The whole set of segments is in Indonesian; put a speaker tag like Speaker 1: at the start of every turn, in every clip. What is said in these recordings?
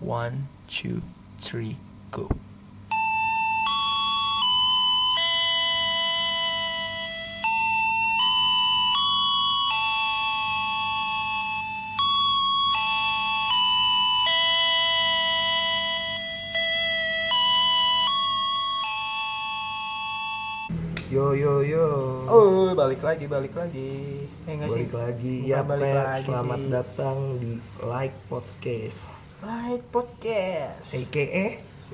Speaker 1: One, two, three, go.
Speaker 2: Yo yo yo.
Speaker 1: Oh, balik lagi, balik lagi. Eh, nggak sih?
Speaker 2: balik lagi
Speaker 1: Bukan
Speaker 2: ya
Speaker 1: balik
Speaker 2: Pet.
Speaker 1: lagi
Speaker 2: Selamat
Speaker 1: sih.
Speaker 2: datang di Like Podcast.
Speaker 1: Light Podcast.
Speaker 2: AKA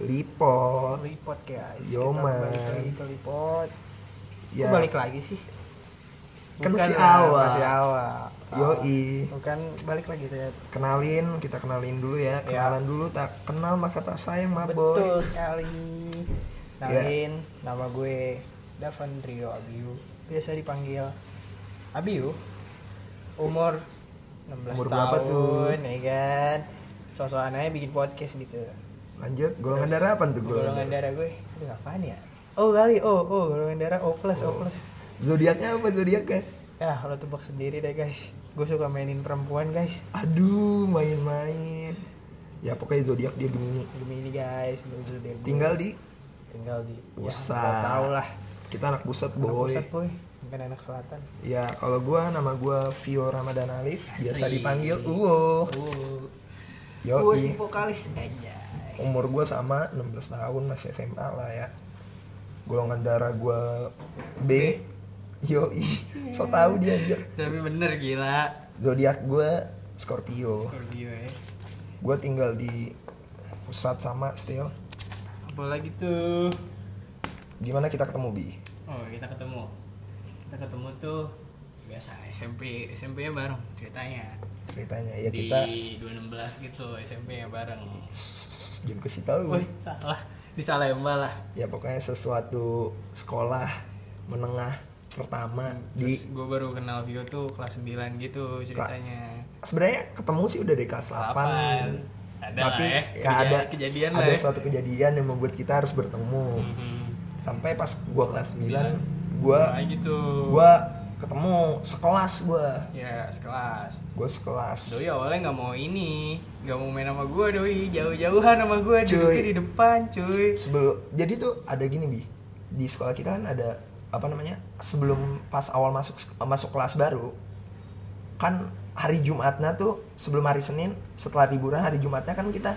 Speaker 2: Lipot.
Speaker 1: Lipot guys.
Speaker 2: Yo,
Speaker 1: Kita
Speaker 2: man.
Speaker 1: balik lagi ke Lipot.
Speaker 2: Ya.
Speaker 1: Kok balik lagi sih?
Speaker 2: Kan
Speaker 1: Bukan
Speaker 2: masih
Speaker 1: lah,
Speaker 2: awal.
Speaker 1: Masih awal.
Speaker 2: Yoi.
Speaker 1: Bukan balik lagi ternyata.
Speaker 2: Kenalin, kita kenalin dulu ya.
Speaker 1: Ya.
Speaker 2: Kenalan dulu tak kenal maka tak sayang, ma boy. Ya.
Speaker 1: Betul sekali. Nalin, nama gue Davan Rio Abiu. Biasa dipanggil Abiu. Umur 16
Speaker 2: Umur
Speaker 1: tahun,
Speaker 2: berapa
Speaker 1: ya kan. Sosok anaknya bikin podcast gitu.
Speaker 2: Lanjut, golongan
Speaker 1: Terus,
Speaker 2: darah apa tuh
Speaker 1: Golongan
Speaker 2: golongan?
Speaker 1: darah gue. Aduh, apaan ya? Oh kali, oh, oh, golongan darah O plus,
Speaker 2: Oh.
Speaker 1: O plus.
Speaker 2: Zodiaknya apa zodiak kan?
Speaker 1: Ya, lo tebak sendiri deh guys. Gue suka mainin perempuan guys.
Speaker 2: Aduh, main-main. Ya pokoknya zodiak dia Gemini.
Speaker 1: Gemini guys, lu- lu- lu-
Speaker 2: Tinggal di
Speaker 1: tinggal di
Speaker 2: Pusat.
Speaker 1: Ya, nggak tahu lah.
Speaker 2: kita anak pusat
Speaker 1: Anak
Speaker 2: boy.
Speaker 1: pusat boy, bukan anak selatan.
Speaker 2: Ya, kalau gua nama gua Vio Ramadan Alif, biasa
Speaker 1: Asik.
Speaker 2: dipanggil Uwo.
Speaker 1: Oh,
Speaker 2: Yo,
Speaker 1: gue si vokalis aja.
Speaker 2: umur gue sama 16 tahun masih SMA lah ya golongan darah gue B yoi so tau dia anjir
Speaker 1: Tapi bener gila.
Speaker 2: zodiak gue Scorpio
Speaker 1: Scorpio
Speaker 3: eh.
Speaker 1: ya.
Speaker 2: gue tinggal di pusat sama still
Speaker 1: Apalagi tuh.
Speaker 2: gimana kita ketemu bi
Speaker 3: Oh kita ketemu Kita ketemu tuh Biasa SMP SMP nya bareng ceritanya
Speaker 2: ceritanya ya kita
Speaker 3: Di 216 gitu SMP nya bareng
Speaker 2: jangan kasih tahu
Speaker 3: Wih salah Di Salemba lah
Speaker 2: ya pokoknya sesuatu sekolah menengah pertama di
Speaker 3: Terus gue baru kenal Vio tuh kelas 9 gitu ceritanya
Speaker 2: sebenarnya ketemu sih udah dari kelas 8
Speaker 3: Ada
Speaker 2: tapi
Speaker 3: lah ya,
Speaker 2: ya
Speaker 3: Kejadian-
Speaker 2: ada
Speaker 3: kejadian lah
Speaker 2: ada
Speaker 3: ya
Speaker 2: suatu kejadian yang membuat kita harus bertemu
Speaker 3: Mhm.
Speaker 2: sampai pas gua kelas 9
Speaker 3: Nah,
Speaker 2: gua
Speaker 3: gitu
Speaker 2: gua ketemu sekelas gua
Speaker 3: Ya sekelas
Speaker 2: gua sekelas
Speaker 3: Doi awalnya nggak mau ini, nggak mau main sama gue Doi, jauh-jauhan sama gue,
Speaker 2: Cuy.
Speaker 3: duduknya di depan cuy.
Speaker 2: sebelum jadi tuh ada gini bi di sekolah kita kan ada apa namanya sebelum pas awal masuk masuk kelas baru kan hari Jumatnya tuh sebelum hari Senin setelah liburan hari Jumatnya kan kita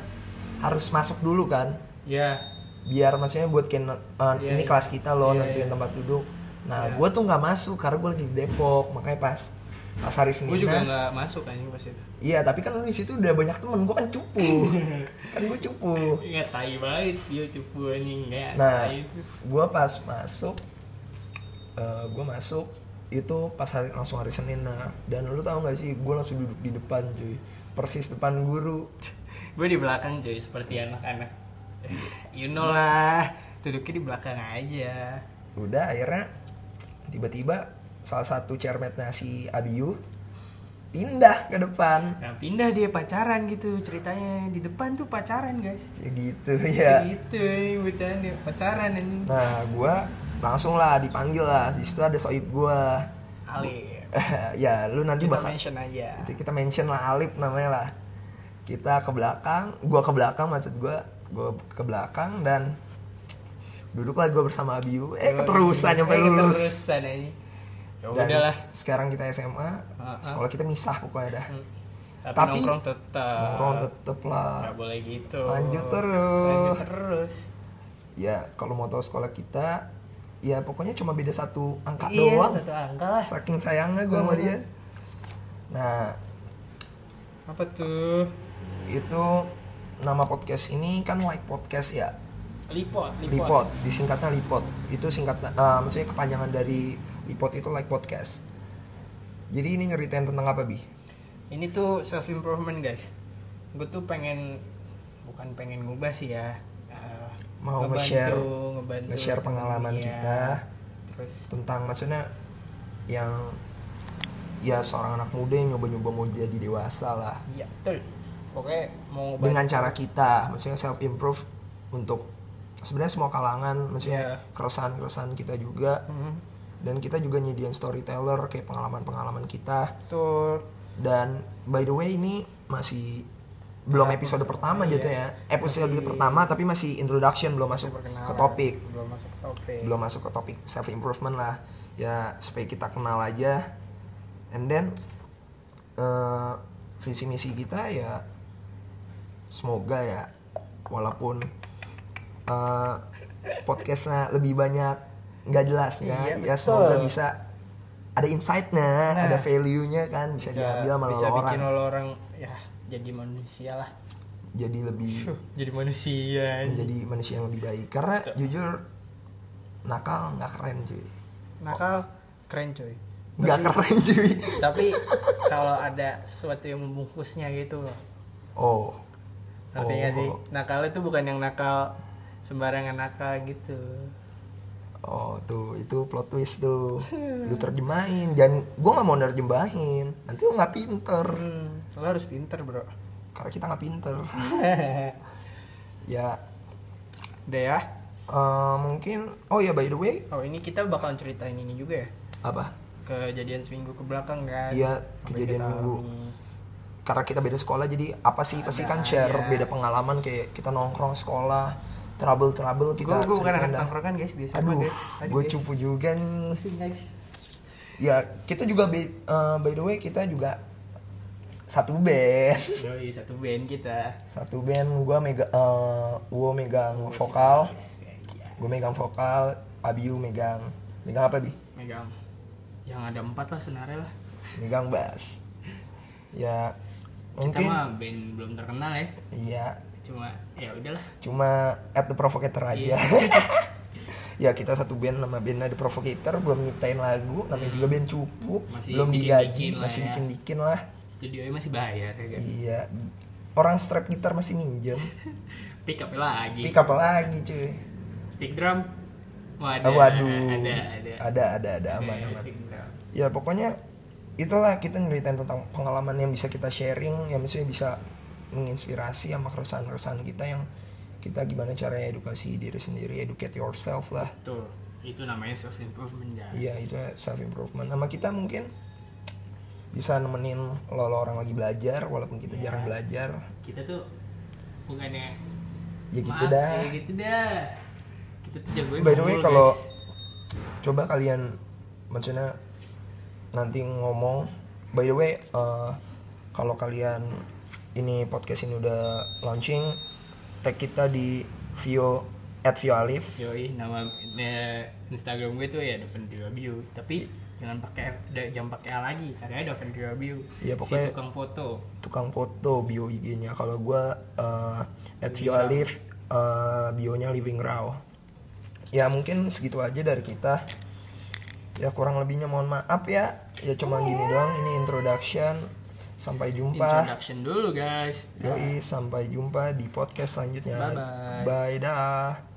Speaker 2: harus masuk dulu kan
Speaker 3: Ya,
Speaker 2: biar maksudnya buat kayak not- uh,
Speaker 3: Iya,
Speaker 2: ini
Speaker 3: iya.
Speaker 2: kelas kita loh
Speaker 3: Iya,
Speaker 2: nanti
Speaker 3: iya.
Speaker 2: tempat duduk nah
Speaker 3: Iya.
Speaker 2: gue tuh nggak masuk karena gue lagi di Depok makanya pas pas hari
Speaker 3: gue
Speaker 2: Senin Nah,
Speaker 3: juga nggak masuk anjing pas itu.
Speaker 2: iya tapi kan lu di situ udah banyak temen gue kan cupu kan gue cupu
Speaker 3: Ingat tai banget dia cupu anjing enggak.
Speaker 2: nah
Speaker 3: tai iya. itu.
Speaker 2: gue pas masuk gue masuk itu pas hari langsung hari Senin nah dan lu tau gak sih gue langsung duduk di depan cuy persis depan guru
Speaker 3: gue di belakang cuy seperti anak-anak. You know lah, duduknya di belakang aja.
Speaker 2: udah akhirnya tiba-tiba salah satu chairmate-nya si Abiu pindah ke depan
Speaker 3: Nah, pindah dia pacaran gitu ceritanya di depan tuh pacaran guys.
Speaker 2: Ya gitu ya.
Speaker 3: Gitu, anjing, bercanda pacaran anjing.
Speaker 2: Nah, gua langsung lah dipanggil lah. Di situ ada soib gua.
Speaker 3: Ali.
Speaker 2: ya, lu Nah. nanti
Speaker 3: Kita
Speaker 2: bakal
Speaker 3: mention aja.
Speaker 2: nanti kita mention lah Alip namanya lah. Kita ke belakang, gua ke belakang maksud gua, gua ke belakang dan duduklah gua bersama Abiu. Eh, keterusan nyampe
Speaker 3: Eh,
Speaker 2: lulus.
Speaker 3: Keterusan anjing. Ya
Speaker 2: Dan
Speaker 3: udahlah.
Speaker 2: Sekarang kita SMA,
Speaker 3: Ah, Hmm. ah.
Speaker 2: sekolah kita misah pokoknya dah.
Speaker 3: Tapi,
Speaker 2: Tapi-
Speaker 3: nongkrong tetap.
Speaker 2: Nongkrong tetep lah.
Speaker 3: Gak boleh gitu.
Speaker 2: Lanjut terus.
Speaker 3: Lanjut terus.
Speaker 2: Ya, kalau mau tahu sekolah kita, ya pokoknya cuma beda satu angka
Speaker 3: iya,
Speaker 2: doang.
Speaker 3: satu angka Iya. lah.
Speaker 2: Saking sayangnya gua sama dia. Nah,
Speaker 3: Apa tuh?
Speaker 2: itu nama podcast ini kan like podcast ya
Speaker 3: Lipot,
Speaker 2: lipot disingkatnya lipot itu singkatan eh, maksudnya kepanjangan dari lipot itu like podcast jadi ini ngeritain tentang apa bi
Speaker 3: Ini tuh self improvement guys. Gue tuh pengen bukan pengen ngubah sih ya. eh,
Speaker 2: Mau
Speaker 3: ngebantu-
Speaker 2: nge-share-
Speaker 3: ngebantu
Speaker 2: nge-share pengalaman
Speaker 3: iya.
Speaker 2: kita.
Speaker 3: Terus
Speaker 2: tentang maksudnya yang ya seorang anak muda yang nyoba-nyoba mau jadi dewasa lah
Speaker 3: iya betul. Pokoknya mau ngebantu-
Speaker 2: dengan cara kita maksudnya self improve untuk sebenarnya semua kalangan maksudnya
Speaker 3: Iya.
Speaker 2: keresahan-keresahan kita juga
Speaker 3: Mhm,
Speaker 2: dan kita juga nyediain storyteller kayak pengalaman-pengalaman kita
Speaker 3: betul.
Speaker 2: Dan by the way ini masih belum episode pertama jatuhnya episode pertama tapi masih introduction belum masuk
Speaker 3: Perkenalan,
Speaker 2: ke topik
Speaker 3: belum masuk ke topik
Speaker 2: belum masuk ke topik self improvement lah ya supaya kita kenal aja and then eh, visi misi kita ya semoga ya walaupun eh, podcastnya lebih banyak nggak
Speaker 1: Iya,
Speaker 2: jelasnya ya
Speaker 1: betul.
Speaker 2: semoga bisa ada insightnya
Speaker 1: Nah.
Speaker 2: ada value nya kan bisa, diambil sama
Speaker 3: bisa
Speaker 2: orang
Speaker 3: bikin lo orang ya jadi manusia lah
Speaker 2: jadi lebih
Speaker 3: Shuh, jadi manusia
Speaker 2: menjadi manusia yang lebih baik karena jujur nakal nggak keren cuy
Speaker 3: nakal keren cuy
Speaker 2: nggak keren cuy
Speaker 3: tapi kalau ada sesuatu yang membungkusnya gitu loh
Speaker 2: oh
Speaker 3: ngerti nggak sih
Speaker 2: Oh.
Speaker 3: nakal itu bukan yang nakal sembarangan nakal gitu
Speaker 2: oh tuh itu plot twist tuh lu terjemahin jangan gua nggak mau nerjemahin nanti lu nggak pinter
Speaker 3: hmm, lo harus pinter bro
Speaker 2: karena kita nggak pinter ya
Speaker 3: udah ya
Speaker 2: eh, mungkin oh ya by the way
Speaker 3: oh ini kita bakal ceritain ini juga ya
Speaker 2: apa
Speaker 3: kejadian seminggu ke belakang kan Apa
Speaker 2: Iya,
Speaker 3: yang
Speaker 2: kejadian
Speaker 3: kita
Speaker 2: minggu.
Speaker 3: alami.
Speaker 2: karena kita beda sekolah jadi apa sih pasti
Speaker 3: Ada iya.
Speaker 2: kan share
Speaker 3: aja.
Speaker 2: beda pengalaman kayak kita nongkrong sekolah trouble trouble
Speaker 3: gue
Speaker 2: kita
Speaker 3: gue bukan anak
Speaker 2: ceritain dah.
Speaker 3: tongkrongan guys di SMA
Speaker 2: aduh
Speaker 3: guys
Speaker 2: gue cupu juga nih
Speaker 3: sih guys
Speaker 2: ya kita juga be- eh, by the way kita juga satu band
Speaker 3: Yoi, satu band kita
Speaker 2: satu band gua mega eh, gua megang vokal
Speaker 3: Iya.
Speaker 2: gue megang vokal Abiu megang megang apa bi
Speaker 3: megang yang ada empat lah senarnya lah
Speaker 2: megang bass ya
Speaker 3: kita
Speaker 2: mungkin
Speaker 3: mah band belum terkenal ya
Speaker 2: iya
Speaker 3: cuma ya udahlah
Speaker 2: cuma at the provocator aja
Speaker 3: Iya.
Speaker 2: ya kita satu band nama bandnya the provocator belum nyiptain lagu namanya juga band cupu
Speaker 3: Masih
Speaker 2: belum
Speaker 3: bikin-bikin
Speaker 2: digaji
Speaker 3: lah
Speaker 2: masih
Speaker 3: ya.
Speaker 2: bikin bikin lah
Speaker 3: studionya masih bayar ya kan
Speaker 2: iya orang strap gitar masih minjem
Speaker 3: pick up lagi
Speaker 2: pick up lagi cuy
Speaker 3: stick drum Wah, ada,
Speaker 2: Oh, waduh
Speaker 3: ada ada
Speaker 2: ada ada ada aman
Speaker 3: Ada
Speaker 2: aman
Speaker 3: stick drum.
Speaker 2: ya pokoknya itulah kita ngeritain tentang pengalaman yang bisa kita sharing yang misalnya bisa menginspirasi sama keresahan-keresahan kita yang kita gimana caranya edukasi diri sendiri educate yourself lah
Speaker 3: tuh itu namanya self improvement ya
Speaker 2: iya itu self improvement sama kita mungkin bisa nemenin lo, lo orang lagi belajar walaupun kita
Speaker 3: Iya.
Speaker 2: jarang belajar
Speaker 3: kita tuh bukannya
Speaker 2: ya gitu
Speaker 3: maaf,
Speaker 2: dah
Speaker 3: ya gitu dah kita tuh jagoin
Speaker 2: by the way
Speaker 3: ngobrol,
Speaker 2: kalau
Speaker 3: guys.
Speaker 2: coba kalian maksudnya nanti ngomong by the way eh, kalau kalian ini podcast ini udah launching tag kita di Vio at Vio Alif
Speaker 3: Yoi, nama eh, Instagram gue tuh ya Dovan View. Tapi jangan pakai da- jangan pakai A lagi, cari aja Dovan View.
Speaker 2: Iya,
Speaker 3: si
Speaker 2: pokoknya-
Speaker 3: tukang foto.
Speaker 2: tukang foto bio IG-nya kalau gua eh, at Vio
Speaker 3: Iya.
Speaker 2: Alif eh, bionya Living Raw ya mungkin segitu aja dari kita ya kurang lebihnya mohon maaf ya ya cuma gini doang ini introduction sampai jumpa
Speaker 3: Introduction dulu, guys.
Speaker 2: Yoi, sampai jumpa di podcast selanjutnya.
Speaker 3: Bye-bye.
Speaker 2: Bye dah.